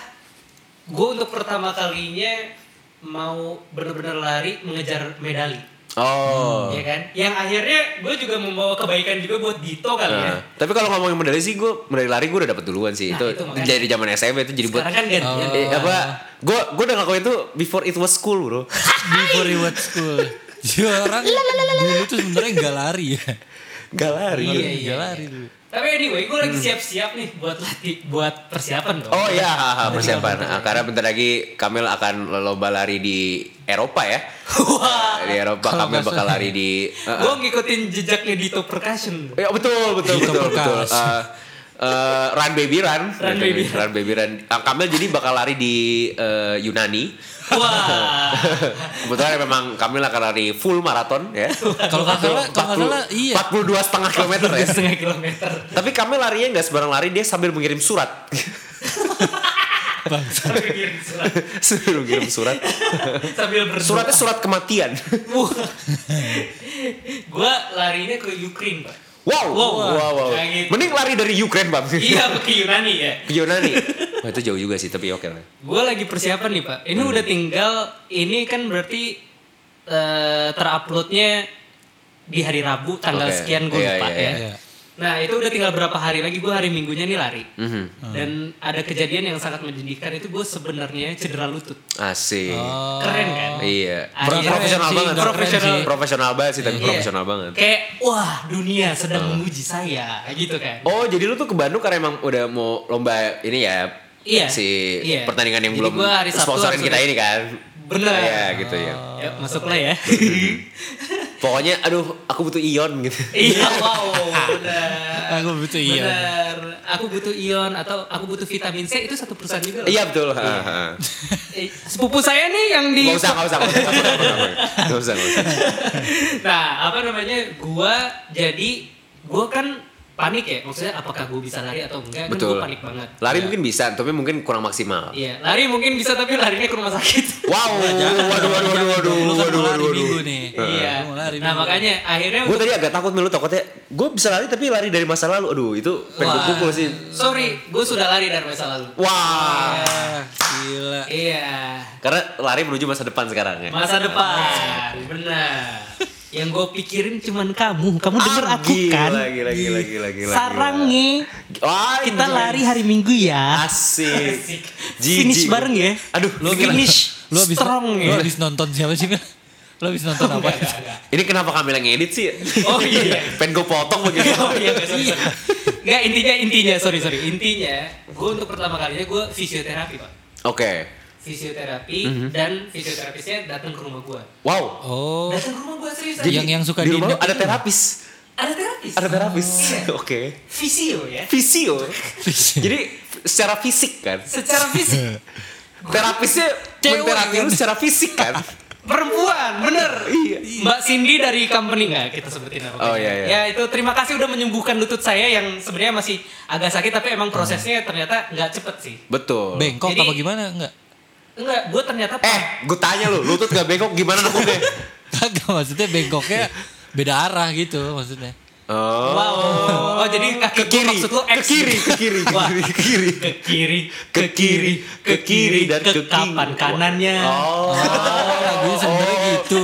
S2: gue untuk pertama kalinya mau bener-bener lari mengejar medali.
S1: Oh.
S2: Ya kan? Yang akhirnya gue juga membawa kebaikan juga buat Dito kali ya.
S1: Nah, tapi kalau ngomongin medali sih gue medali lari gue udah dapet duluan
S2: Nah,
S1: sih itu,
S2: itu makanya.
S1: dari zaman SMP itu jadi iya, buat
S2: Sekarang kan gantian.
S1: eh, apa gue gue udah ngakuin itu before it was
S2: (laughs)
S1: cool bro
S3: Before you at school. Jadi orang dulu tuh sebenarnya nggak lari ya.
S1: gak lari Hmm.
S2: Iya, iya,
S3: Nggak
S2: iya.
S3: lari dulu.
S2: Tapi anyway, gue lagi siap-siap nih buat latih, buat persiapan dong.
S1: oh ya persiapan Ah, karena bentar lagi Kamil akan lomba lari di Eropa ya
S2: (laughs) Wah,
S1: di Eropa
S3: Kalau
S1: Kamil
S3: nggak
S1: bakal
S3: salah.
S1: lari di Eh,
S2: gue ngikutin jejaknya Dito Percussion.
S1: Ya betul betul
S3: Itu
S1: betul betul.
S3: bekas.
S1: Eh, eh, run baby run,
S2: Run baby run.
S1: run baby run. Ah, Kamil jadi bakal lari di eh, Yunani.
S2: Wah,
S1: Kebetulan memang Kamil akan lari full maraton ya.
S3: Kalau nggak salah, kalau nggak salah, iya.
S1: 42 setengah kilometer
S3: (laughs)
S1: ya. (laughs)
S2: setengah kilometer.
S1: Tapi Kamil larinya nggak sembarang lari, dia sambil mengirim surat. (laughs)
S2: Sambil kirim surat.
S1: sambil mengirim surat.
S2: Sambil berdoa.
S1: Suratnya surat kematian.
S2: Wah. gue larinya ke Ukraine, Pak.
S1: Wow, wow,
S2: Wow.
S1: wow. wow.
S2: Kayak gitu.
S1: Mending lari dari Ukraine, Bang. Ke
S2: Iya, ke Yunani ya.
S1: Yunani. Wah, itu jauh juga sih, tapi oke lah.
S2: Gue lagi persiapan nih, Pak. Ini udah tinggal, ini kan berarti eh, teruploadnya di hari Rabu tanggal
S1: Oke.
S2: sekian gue
S1: Iya,
S2: lupa
S1: iya,
S2: ya.
S3: iya.
S2: Nah itu udah tinggal berapa hari lagi gue hari minggunya nih lari.
S1: Mhm.
S2: Dan ada kejadian yang sangat menyedihkan itu gue sebenarnya cedera lutut.
S1: Asik.
S3: Oh.
S2: Keren kan?
S1: Iya.
S2: Ah,
S1: Pro-
S2: iya.
S1: profesional
S3: Keren sih,
S1: banget.
S3: nggak keren
S1: Profesional.
S3: sih.
S1: Profesional banget sih, tapi
S2: Iya.
S1: Kan profesional banget.
S2: Kayak wah dunia sedang memuji saya gitu kan.
S1: Oh, jadi lu tuh ke Bandung karena emang udah mau lomba ini ya?
S2: Iya.
S1: Si
S2: Iya.
S1: pertandingan yang
S2: Jadi
S1: belum
S2: gua hari Sabtu
S1: sponsorin
S2: harus
S1: kita
S2: udah-
S1: ini kan.
S2: Bener.
S1: Iya, gitu ya.
S2: Ya, masuklah
S1: (laughs)
S2: ya.
S1: Pokoknya aduh, aku butuh ion gitu.
S2: iya, wow, benar.
S3: Aku butuh
S1: iya.
S3: ion.
S2: Benar. Aku butuh ion atau aku butuh vitamin C itu satu perusahaan juga. loh.
S1: Iya betul. Heeh.
S2: Eh, Sepupu saya nih yang di
S1: Gak usah, gak usah, gak usah, gak usah, gak usah, gak usah, gak usah.
S2: (laughs) nah apa namanya gua jadi gua kan panik ya maksudnya apakah gua bisa lari atau enggak
S1: Betul.
S2: kan gua panik banget
S1: Lari mungkin bisa, tapi mungkin kurang maksimal.
S2: iya lari mungkin bisa tapi larinya ke rumah sakit
S1: Wow, waduh, waduh, waduh, waduh, waduh,
S3: Lu kan
S1: waduh,
S3: mau lari
S1: waduh,
S3: minggu nih.
S2: iya
S3: Lu mau lari
S2: nah
S3: minggu.
S2: makanya akhirnya
S1: Gue
S2: untuk-
S1: tadi agak takut melu takutnya gue bisa lari tapi lari dari masa lalu. Aduh, itu pengen gue
S2: Wah,
S1: pukul sih.
S2: sorry gua sudah lari dari masa lalu
S1: Wah,
S3: Ah, gila.
S2: iya
S1: karena lari menuju masa depan sekarang ya.
S2: masa depan benar yang gue pikirin cuman kamu kamu denger
S1: Ah,
S2: aku
S1: gila,
S2: kan
S1: gila, gila, gila, gila,
S2: sarang
S1: gila.
S2: nih
S1: Wah,
S2: kita
S1: gila.
S2: lari hari minggu ya
S1: Asik. Jijik.
S2: finish bareng ya
S1: Aduh,
S2: lo
S1: ini, kenapa,
S2: finish
S3: Lu habis
S2: strong
S3: lu
S2: ya
S3: habis nonton siapa sih? Mil? Lu habis nonton apa?
S1: ini kenapa kami lagi ngedit sih?
S2: Oh, iya.
S1: Pengen gue potong begitu.
S2: (laughs) oh iya nggak sorry, sorry. Nggak, intinya intinya sorry sorry intinya gue untuk pertama kalinya gue fisioterapi pak
S1: Oke.
S2: fisioterapi
S1: Mhm.
S2: dan fisioterapisnya datang ke rumah gue
S1: Wow.
S3: Oh,
S2: datang ke rumah gue serius
S3: Jadi-
S2: serius.
S3: yang- yang suka
S1: di rumah lu
S3: diinjek
S1: ada
S3: itu.
S1: terapis.
S2: ada terapis
S1: Ada terapis.
S2: Iya.
S1: Oke.
S2: fisio ya
S1: Fisio. Jadi secara fisik kan.
S2: secara
S1: (laughs)
S2: fisik
S1: Terapisnya
S3: Cewek
S1: menterapi
S3: kan?
S1: lu secara fisik
S2: (laughs)
S1: kan.
S2: perempuan bener Mbak Cindy dari company nggak kita sebutin apa
S1: Iya. Oh, iya, iya.
S2: ya itu terima kasih udah menyembuhkan lutut saya yang sebenarnya masih agak sakit tapi emang
S1: Hmm.
S2: prosesnya ternyata nggak cepet sih
S1: Betul.
S3: bengkok
S2: Jadi-
S3: apa gimana? Enggak. (laughs)
S2: enggak gue ternyata
S1: eh, gue tanya lu, lutut gak bengkok gimana nututnya?
S3: Kagak maksudnya bengkoknya beda arah gitu maksudnya.
S1: Oh.
S2: wow oh jadi kaki
S1: Ke
S2: gua
S1: kiri,
S2: maksud lu
S1: ke
S2: X.
S1: kiri, ke kiri, ke
S2: (laughs) Wah.
S1: kiri, Oh. ke kiri.
S2: ke kiri
S1: Ke kiri, ke kiri, dan ke kiri.
S2: kapan kanannya
S1: Oh.
S3: Oh, lagunya sebenarnya gitu.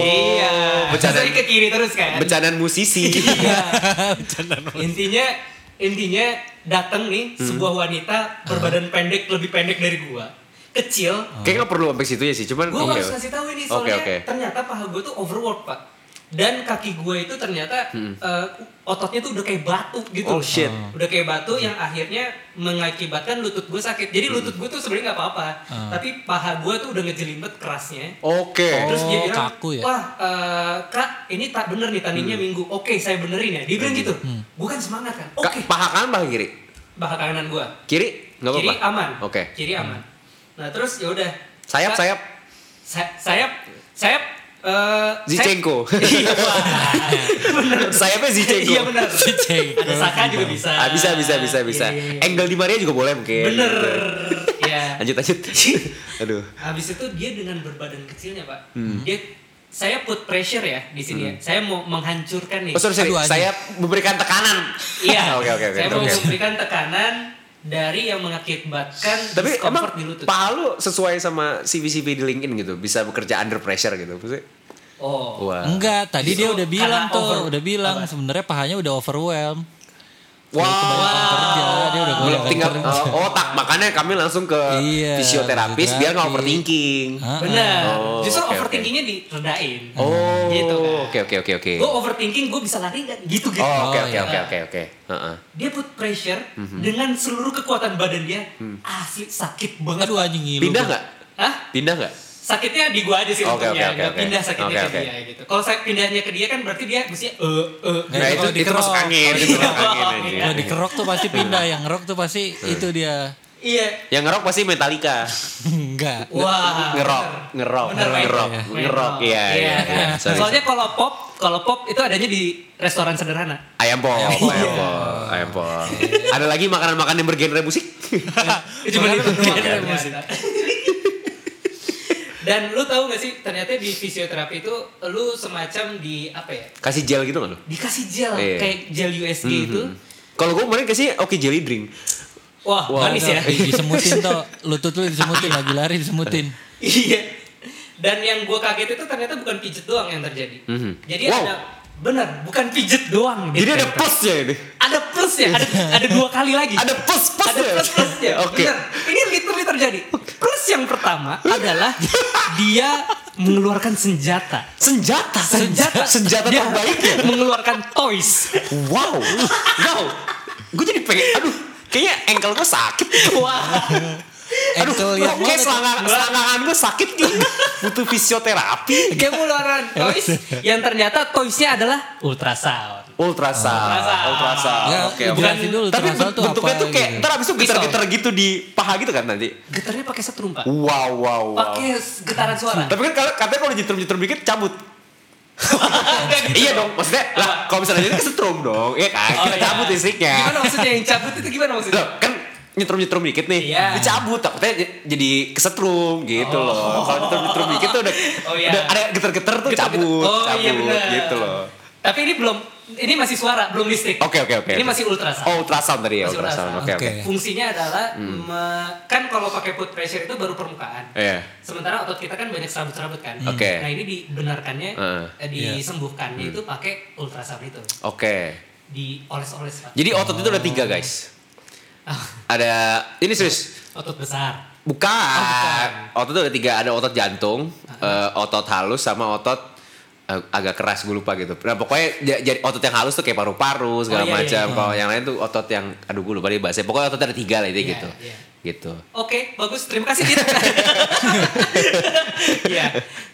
S2: iya
S1: Bercanda.
S2: Jadi ke kiri terus kan
S1: Bercandaan
S2: (laughs)
S1: musisi. (laughs)
S2: Iya. (laughs) intinya intinya datang nih
S1: Hmm.
S2: sebuah wanita berbadan pendek lebih pendek dari gua kecil
S1: Kayaknya nggak perlu sampai situ ya sih, cuman
S2: gua
S1: Hmm. oke.
S2: harus kasih tahu ini soalnya ternyata paha gua tuh overwork pak dan kaki gua itu ternyata eh, ototnya tuh udah kayak batu gitu
S1: Hmm. Oh, shit. Hmm.
S2: udah kayak batu yang akhirnya mengakibatkan lutut gua sakit jadi lutut gua tuh sebenarnya nggak apa-apa
S1: Hmm.
S2: tapi paha gua tuh udah ngejelimet kerasnya
S1: Oke.
S2: Terus dia
S3: Oh,
S2: bilang,
S3: kaku ya?
S2: wah eh, kak ini tak bener nih
S1: Hmm.
S2: tandingnya minggu. Oke saya benerin ya. Dia bilang gitu.
S3: Hmm.
S2: Bukan semangat kan?
S1: Ka-
S2: Oke.
S1: Paha kanan paha kiri.
S2: Bahkan kanan gua.
S1: Kiri nggak apa-apa.
S2: Kiri aman.
S1: Oke. Hmm.
S2: Kiri aman. Nah terus ya udah.
S1: Sayap
S2: Kak,
S1: sayap.
S2: sa- sayap sayap. eh, sayap-
S1: Zinchenko.
S2: (laughs) Iya wah. bener.
S1: Sayapnya Zinchenko.
S2: Iya bener.
S3: Zinchenko.
S2: Ada Saka juga bisa.
S1: (laughs) Ah, bisa bisa bisa bisa.
S2: Iya, iya, iya.
S1: Angle di Maria juga boleh mungkin. (laughs)
S2: Bener. Ya.
S1: Lanjut lanjut. (laughs) Aduh.
S2: Habis itu dia dengan berbadan kecilnya pak.
S1: Hmm.
S2: Dia saya put pressure ya di sini ya. Saya mau menghancurkan nih.
S1: Oh, sorry, sorry.
S3: Aduh, anjing.
S1: saya memberikan tekanan.
S2: Iya.
S1: (laughs) Oke oke oke.
S2: Saya mau
S1: oke.
S2: memberikan tekanan dari yang mengakibatkan
S1: Tapi emang
S2: discomfort di lutut.
S1: paha lu sesuai sama CV-CV di LinkedIn gitu, bisa bekerja under pressure gitu. Maksudnya,
S2: oh.
S1: wah.
S3: Enggak, tadi
S2: Justru
S3: dia udah bilang
S2: karena
S3: tuh,
S2: over-
S3: udah bilang
S2: apa?
S3: sebenarnya pahanya udah overwhelm.
S1: Wah.
S3: kerja, dia
S1: Belum
S3: udah kebanyakan
S1: tinggal
S3: kerja.
S1: uh, otak, makanya kami langsung ke
S3: Iya,
S1: fisioterapis biar nggak
S3: fisioterapis.
S1: overthinking.
S3: Ah,
S2: Benar.
S1: Oh,
S2: Justru
S1: oke, oke.
S2: overthinkingnya diredain.
S1: Oh,
S2: Gitu kan.
S1: oke oke oke oke.
S2: Gue overthinking, gue bisa lari nggak? Gitu gitu.
S1: Oh, oke oke
S3: Oh,
S1: Mhm.
S3: iya.
S1: oke oke oke. Heeh.
S2: Dia put pressure dengan seluruh kekuatan badan dia. Asli sakit banget.
S3: Aduh anjing ngilu.
S1: Hmm. Pindah
S3: gua.
S1: nggak?
S2: Hah?
S1: Pindah nggak?
S2: Sakitnya di gua aja sih
S1: Oke,
S2: untungnya.
S1: oke, oke,
S2: Nggak
S1: oke.
S2: pindah sakitnya ke
S1: Oke, oke.
S2: dia gitu. Kalau saya pindahnya ke dia kan berarti dia mesti eh eh.
S3: Nah,
S1: Nah,
S3: itu
S1: itu
S3: kalau
S1: itu masuk
S3: dikerok.
S1: angin, itu masuk
S2: Kalau
S1: angin
S2: dikerok.
S1: aja.
S3: Kalau dikerok tuh pasti pindah, yang ngerok tuh pasti itu dia. (laughs)
S2: Iya.
S1: Yang ngerok pasti Metallica.
S3: Enggak.
S2: Wah.
S1: Ngerok,
S2: bener.
S1: ngerok,
S2: Bener, Pak.
S1: ngerok,
S2: Bener.
S1: ngerok. Iya, iya.
S2: kan?
S1: iya. Sorry.
S2: Soalnya kalau pop, kalau pop itu adanya di restoran sederhana.
S1: Ayam pol, ayam pol, ayam pol.
S2: (laughs)
S1: Ada lagi makanan-makanan yang bergenre musik?
S2: Itu cuma di
S1: Oh, iya,
S3: Makanya
S2: doang,
S3: berbeda
S2: ternyata. Dan lu tahu gak sih ternyata di fisioterapi itu lu semacam di apa ya?
S1: Kasih gel gitu nggak lo?
S2: Dikasih gel
S1: Iya.
S2: kayak gel USG
S3: Gitu.
S2: itu.
S1: Kalau gue kemarin kasih oke jelly drink.
S2: Wah,
S1: Wah.
S2: manis ya.
S3: Di- Disemutin tuh, lutut lu disemutin, lagi lari disemutin.
S2: (laughs) Iya. Dan yang gue kaget itu ternyata bukan pijet doang yang terjadi.
S1: Mhm.
S2: Jadi
S1: Wow.
S2: ada bener bukan pijet doang. gitu.
S1: Jadi ada
S2: Ada
S1: plus ya ini.
S2: ada plusnya, ada ada dua kali lagi.
S1: Ada plus plus ya?
S2: ada plus plusnya.
S1: (laughs) Oke.
S2: Bener. Ini literally terjadi. Plus yang pertama adalah dia mengeluarkan senjata.
S1: Senjata.
S2: Senjata.
S1: Senjata
S2: dia
S3: Iya.
S1: terbaik ya.
S2: (laughs) Mengeluarkan toys.
S1: Wow. Wow. Gue jadi pengen. Aduh. Kayaknya engkel gue sakit.
S2: Wah.
S1: Aduh,
S3: Ankle yang
S1: oke
S3: mana tuh?
S1: selangkangan selangkangan gue sakit nih. Butuh fisioterapi.
S2: Dia mengeluarkan toys yang ternyata toysnya adalah ultrasound.
S1: Ultrasound,
S2: Ultrasound.
S1: ultrasound.
S3: Ya,
S1: Oke, oke.
S3: jelasin dulu
S1: Tapi
S3: ultrasound tuh
S1: bentuknya
S3: apa
S1: tuh kayak,
S3: gitu.
S1: ntar abis itu getar-getar gitu di paha gitu kan nanti.
S2: Getarnya pakai setrum, Pak.
S1: Wow, wow, wow.
S2: Pakai getaran suara.
S1: Tapi kan kalau katanya kalau nyetrum-nyetrum dikit cabut.
S2: Nggak gitu.
S1: Iya dong, maksudnya lah kalau misalnya jadi kesetrum dong, iya kan?
S2: Oh,
S1: Kita
S2: iya.
S1: cabut listriknya.
S2: Gimana maksudnya yang cabut itu gimana maksudnya?
S1: Loh, kan nyetrum-nyetrum dikit nih,
S2: Iya.
S1: dicabut takutnya j- jadi kesetrum gitu loh. Kalau nyetrum-nyetrum dikit tuh udah,
S2: Oh, iya.
S1: udah ada geter-geter tuh
S2: Gitu-gitu.
S1: cabut,
S2: Oh,
S1: cabut
S2: iya benar.
S1: gitu loh.
S2: Tapi ini belum ini masih suara, belum listrik.
S1: Oke, oke, oke.
S2: Ini masih ultrasound.
S1: Oh ultrasound tadi ya
S2: Masih
S1: ultrasound, oke
S2: ultrasound.
S1: oke. Hmm.
S3: Oke.
S2: Fungsinya adalah me- kan kalau pakai foot pressure itu baru permukaan.
S1: Iya.
S2: Sementara otot kita kan banyak serabut-serabut kan.
S1: Hmm. Oke.
S2: Nah, ini dibenarkannya
S1: Heeh. Hmm.
S2: eh, disembuhkannya itu pakai ultrasound itu.
S1: Oke.
S2: Dioles-oles Pak.
S1: Jadi otot itu ada tiga guys.
S2: Ah,
S1: Ada ini serius.
S2: otot besar.
S1: Bukan.
S2: Oh,
S1: Otot itu ada tiga. Ada otot jantung, eh, otot halus sama otot eh, agak keras gue lupa gitu. Nah pokoknya ja- jadi otot yang halus tuh kayak paru-paru
S2: Oh,
S1: segala
S2: iya, iya,
S1: macam. Kalau yang lain tuh otot yang aduh gue lupa dia bahasnya. Pokoknya otot ada tiga lah itu
S2: Iya,
S1: gitu.
S2: iya.
S1: Gitu.
S2: Oke, bagus. Terima kasih
S1: (laughs)
S2: Dit. Iya.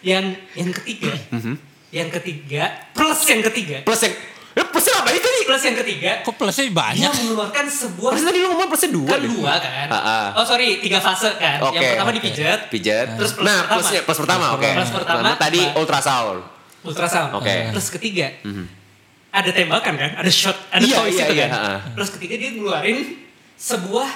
S2: yang yang ketiga.
S1: Mm-hmm.
S2: Yang ketiga, plus yang ketiga.
S1: Plus yang eh, plusnya apa itu nih?
S2: Plus yang ketiga,
S3: Kok plusnya
S2: dia
S3: banyak?
S2: mengeluarkan sebuah
S1: Plusnya tadi lu ngomong plusnya dua.
S2: kan
S1: deh.
S2: dua kan.
S1: Ah, ah.
S2: Oh sorry, tiga fase kan. yang
S1: Oke.
S2: pertama dipijat,
S1: Pijat.
S2: Terus plus
S1: nah,
S2: pertama.
S1: plusnya plus pertama, oke. Nah,
S2: Plus pertama.
S1: tadi
S2: Ba-
S1: ultrasound. Mhm.
S2: ultrasound.
S1: Oke.
S2: Plus ketiga, ada tembakan kan, ada shot, ada
S1: Iya,
S2: toys
S1: iya,
S2: itu
S1: iya,
S2: kan.
S1: ah, ah.
S2: Plus ketiga dia ngeluarin sebuah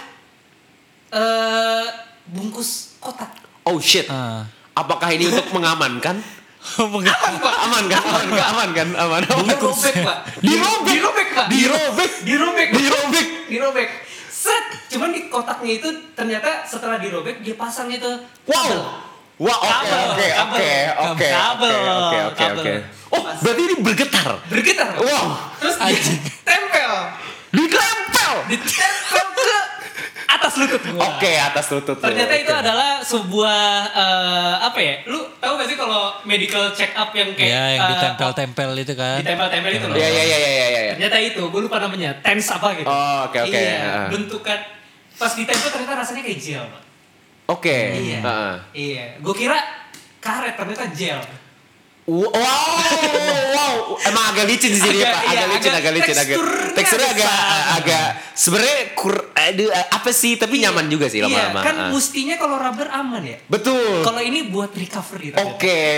S2: eh bungkus kotak.
S1: Oh shit.
S3: Ah.
S1: Apakah ini untuk
S2: (laughs)
S1: mengamankan? (laughs) aman kan? Aman kan? Aman kan? Aman.
S2: Dirobek Eh, pak.
S1: Dirobek.
S2: Dirobek pak.
S1: Dirobek.
S2: Dirobek.
S1: Dirobek.
S2: Dirobek. Set. Cuman di kotaknya itu ternyata setelah dirobek dia pasang itu.
S1: Wow. Wah, oke
S2: Kabel,
S1: oke oke
S2: kabel,
S1: oke
S2: kabel,
S1: oke oke oke
S2: kabel.
S1: oke. Oh, berarti ini bergetar.
S2: Bergetar. Pak.
S1: Wow.
S2: Terus ditempel.
S1: Ditempel.
S2: Ditempel ke atas lutut gua.
S1: Oke, atas lutut. lu,
S2: Ternyata itu
S1: oke.
S2: adalah sebuah eh, apa ya? Lu tahu gak sih kalau medical check up yang kayak
S1: Iya,
S3: Ya, yang
S2: eh,
S3: ditempel-tempel itu kan.
S2: ditempel-tempel itu loh.
S1: Ya ya ya ya ya ya, ya.
S2: Ternyata itu, gue lupa namanya, TENS apa gitu.
S1: Oh, oke, oke.
S2: Iya,
S1: Ah.
S2: bentukan. Pas ditempel ternyata rasanya kayak gel, Pak.
S1: Oke.
S2: Iya.
S1: Heeh.
S2: Iya. Gue kira karet ternyata gel.
S1: Wow, wow, emang agak licin sih
S2: Agak-
S1: jadi pak,
S2: iya,
S1: agak licin,
S2: agak
S1: agak licin, agak
S2: teksturnya
S1: teksturnya agak eh,
S2: besar.
S1: agak sebenarnya kur, aduh, eh, apa sih, tapi
S2: Iya.
S1: nyaman juga sih lama-lama.
S2: Iya, kan
S1: ah.
S2: mestinya kalau rubber aman ya.
S1: Betul.
S2: Kalau ini buat recovery ternyata.
S1: Oke, oke,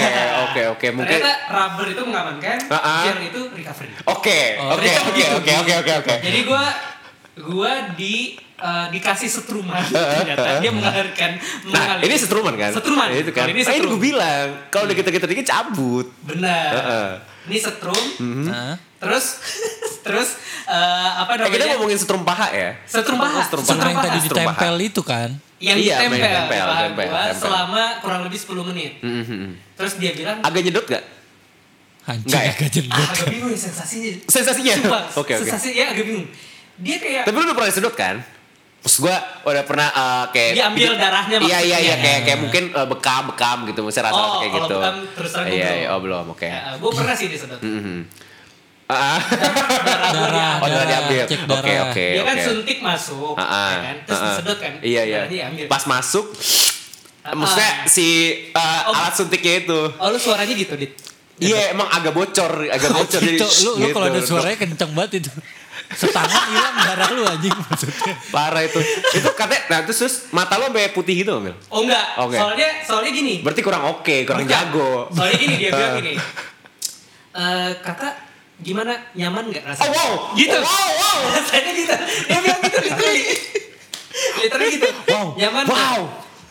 S2: Iya.
S1: oke, oke, mungkin.
S2: Ternyata rubber itu mengamankan,
S1: Ah, ah.
S2: gel itu recovery.
S1: Oke, oke,
S2: ternyata (laughs)
S1: oke,
S2: begitu.
S1: oke, oke, oke, oke.
S2: Jadi gue gue di eh, dikasih
S1: (laughs)
S2: setruman ternyata dia mengalirkan
S1: Nah,
S2: mengalir.
S1: ini setruman kan?
S2: Setruman.
S1: Nah, itu kan.
S2: Kalau ini
S1: Nah, ini
S2: setrum.
S1: gue bilang, kalau udah kita-kita dikit cabut.
S2: Benar.
S1: Heeh. Hmm.
S2: Ini setrum.
S3: Hah?
S2: (laughs) Terus terus eh, apa
S1: Eh, kita
S2: namanya?
S1: ngomongin setrum paha ya.
S2: Setrum paha.
S1: Setrum
S3: Setrum yang
S2: Setrum
S3: tadi
S2: paha.
S1: Setrum paha.
S3: ditempel itu kan.
S2: yang
S1: Iya,
S2: ditempel,
S1: main tempel,
S2: paha
S1: tempel,
S2: gua
S1: tempel.
S2: selama kurang lebih 10 menit.
S1: Mm, mm, mm.
S2: Terus dia bilang,
S1: Agak nyedot gak?
S3: Hancur
S1: Nggak ya?
S3: agak
S2: ah,
S3: jendut.
S1: (laughs)
S2: agak bingung ya sensasinya.
S1: Sensasinya?
S2: Sumpah,
S1: (laughs) Oke, oke.
S2: Sensasinya agak bingung. Dia kayak
S1: Tapi lu udah pernah disedot kan? Terus gue udah pernah eh, kayak
S2: Diambil
S1: bikin-
S2: darahnya
S1: Iya iya iya
S2: maksudnya.
S1: kayak kayak mungkin eh, bekam-bekam gitu, mesti rasa
S2: Oh,
S1: kayak
S2: kalau
S1: gitu.
S2: bekam terus terang gua
S1: Iya,
S2: belum.
S1: iya, oh belum, oke.
S2: Ya, gue pernah sih disedot.
S1: Mhm.
S2: (laughs) Darah
S1: Ah,
S2: gua
S3: Darah,
S1: Oh, darah
S3: Darah,
S1: diambil.
S3: cek
S1: Oke,
S3: darah.
S1: oke,
S2: dia kan
S1: oke.
S2: suntik masuk,
S1: Ah, ah,
S2: ya kan? terus
S1: ah, ah.
S2: disedot kan.
S1: Iya, iya.
S2: Darahnya diambil.
S1: Pas masuk, (sniffs)
S2: Ah,
S1: maksudnya
S2: ah.
S1: si eh,
S2: Oh.
S1: alat suntiknya itu.
S2: Oh lu suaranya gitu, Dit.
S1: Iya, emang agak bocor, agak bocor. jadi
S3: Itu Oh, lu, lu kalau ada
S1: gitu.
S3: suaranya kenceng banget itu. Setangan hilang darah lu anjing maksudnya.
S1: Parah itu. itu katanya, nah terus, terus mata lo sampai putih gitu Mil?
S2: Oh enggak,
S1: Oke.
S2: soalnya soalnya gini.
S1: Berarti kurang oke, kurang
S2: Bukan.
S1: jago.
S2: Soalnya gini dia bilang
S1: Ah. (laughs)
S2: gini. Eh kakak gimana nyaman nggak
S1: Oh
S2: rasanya?
S1: wow,
S2: Gitu.
S1: Wow, wow.
S2: (laughs) Rasanya gitu. Dia bilang gitu
S1: (laughs)
S2: literally. literally gitu.
S1: Wow.
S2: Nyaman. nggak?
S1: Wow.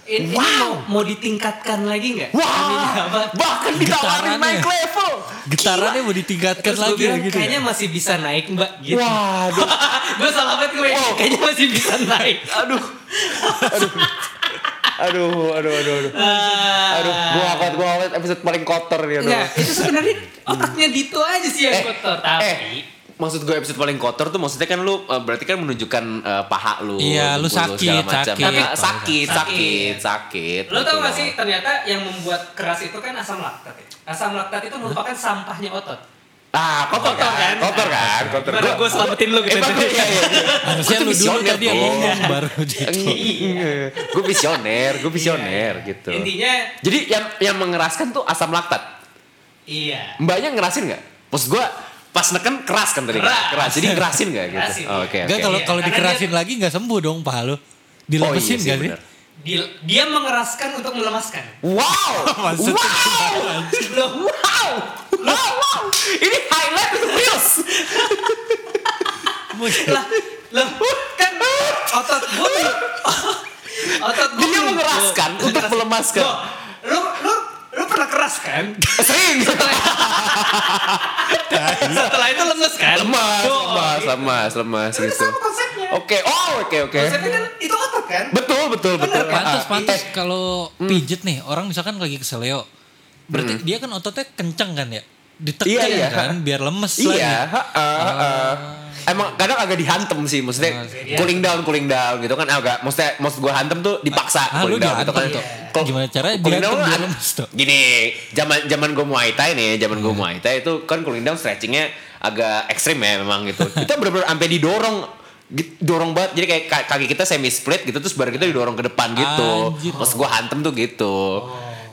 S2: Ini, ini
S1: Wow.
S2: mau, mau ditingkatkan lagi nggak? Amin, ya apa?
S1: Wah, bahkan ditawarin
S3: Getarannya.
S1: naik level.
S3: Getarannya mau ditingkatkan
S2: Terus gue
S3: lagi ya
S2: bilang
S3: gitu. ya?
S2: kayaknya masih bisa naik mbak gitu.
S1: Waduh,
S2: (laughs) gue salah banget gue.
S1: Wow.
S2: Kayaknya masih bisa naik.
S1: Oh. aduh, aduh, aduh, aduh, aduh,
S2: Eh,
S1: aduh,
S3: Ah.
S1: gua awet, gua awet episode paling kotor nih, aduh.
S3: Iya,
S1: Eh,
S2: Enggak, itu sebenarnya otaknya Dito aja sih yang kotor. Tapi
S1: maksud gue episode paling kotor tuh maksudnya kan lu eh, berarti kan menunjukkan eh, paha lu.
S3: Iya, lu
S1: tubuh segala
S3: sakit,
S1: macam.
S3: sakit. Iya.
S1: Tapi sakit,
S2: Sakit.
S1: sakit, sakit.
S2: Lo tau
S1: Betul.
S2: gak sih ternyata yang membuat keras itu kan asam laktat ya? Asam laktat itu merupakan sampahnya otot.
S1: Ah, kotor,
S2: Kotor
S1: kan?
S2: kan?
S1: Kotor kan? Kotor.
S2: Gimana gue selamatin lo
S1: Eh,
S2: gitu.
S1: bagus, iya,
S2: (laughs)
S1: iya, iya. Gua
S3: Harusnya
S1: tuh
S3: lu dulu
S1: visioner,
S3: tadi yang
S1: Bro.
S3: ngomong baru gitu.
S1: gue visioner, gue visioner gitu.
S2: Intinya
S1: Jadi yang yang mengeraskan tuh asam laktat.
S2: iya.
S1: Mbaknya ngerasin nggak? Maksud gue pas neken keras kan tadi kan?
S2: Keras.
S1: keras. Jadi ngerasin nggak gitu?
S2: Ngerasin,
S1: Oh,
S2: iya.
S1: Oke oke.
S3: Enggak kalau
S2: Iya,
S3: kalau
S2: karena
S3: dikerasin
S2: dia-
S3: lagi nggak sembuh dong paha lu.
S1: Oh, iya
S3: Dilemesin
S1: sih,
S3: nggak sih?
S1: bener.
S2: Dia, dia mengeraskan untuk melemaskan. (laughs)
S1: Wow,
S3: (laughs) Maksudnya
S1: wow,
S2: Loh,
S1: wow, wow, wow. Ini highlight untuk Reels.
S2: lah, loh, kan otot gue otot gue
S1: Dia mengeraskan untuk melemaskan.
S2: Loh, Lo, lo, lo pernah keras kan?
S1: Sering.
S2: Setelah itu lemes kan?
S1: Lemas,
S2: Loh,
S1: lemas, lemas, lemas
S2: Itu
S1: gitu.
S2: sama konsepnya.
S1: Oke, oh oke oke.
S2: Konsepnya kan itu otot kan?
S1: Betul betul betul.
S3: Pantas
S1: Ah, Hmm.
S3: pantas kalau pijet nih orang misalkan lagi keseleo. Berarti dia kan ototnya kenceng kan ya? Ditekan
S1: Iya, iya.
S3: kan biar lemes
S1: Iya,
S3: lagi.
S1: heeh,
S3: Ah.
S1: heeh. Emang kadang agak dihantem sih, maksudnya
S3: iya.
S1: cooling down, cooling down gitu kan agak, maksudnya maksud gue hantem tuh dipaksa
S3: Ah, lu
S1: cooling down gitu kan.
S3: dihantem. Iya.
S1: Kalau-
S3: Gimana caranya
S1: cooling down kan
S3: dihantem biar
S1: ada-
S3: (laughs) lemes tuh?
S1: Gini, zaman zaman gue muay thai nih, zaman gue
S3: Hmm.
S1: muay thai itu kan cooling down stretchingnya agak ekstrim ya memang
S3: (laughs)
S1: gitu. Kita bener-bener sampai didorong gitu, dorong banget jadi kayak ka- kaki kita semi split gitu terus baru kita didorong ke depan gitu.
S3: Anjir. Oh.
S1: Maksud gue hantem tuh gitu.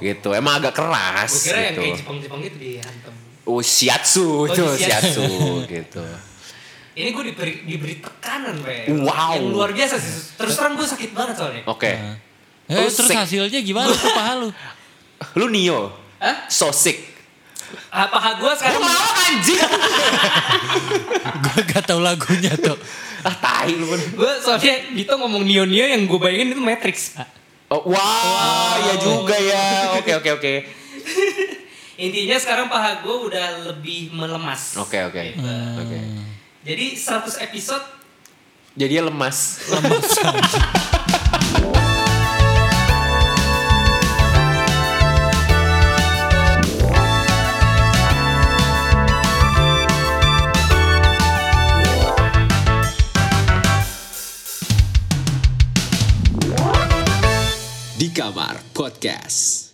S1: Gitu. Emang agak keras
S2: Gue kira yang
S1: gitu.
S2: kayak Jepang-Jepang gitu dihantem.
S1: Oh shiatsu itu
S2: di shiatsu.
S1: shiatsu gitu.
S2: Ini gue diberi, diberi tekanan, Pak.
S1: Wow.
S2: Yang luar biasa sih. Terus terang gue sakit banget soalnya.
S1: Oke.
S3: Eh,
S1: Lu
S3: terus
S1: sick.
S3: hasilnya gimana tuh paha
S1: (laughs)
S3: lu?
S1: Lu Nio.
S2: Hah?
S1: So sick.
S2: Ah, paha gue
S1: Lu
S2: sekarang
S1: mau anjing.
S3: Gue gak tau lagunya tuh.
S1: ah tai lu. bener.
S2: gue soalnya Dito ngomong Neo Neo yang gue bayangin itu Matrix pak
S1: Oh, wow, ya juga ya. Oke oke oke.
S2: intinya sekarang paha gue udah lebih melemas
S1: Oke oke.
S2: Gitu.
S1: Oke.
S2: jadi 100 episode
S1: Jadi dia lemas.
S4: Di Kamar Podcast.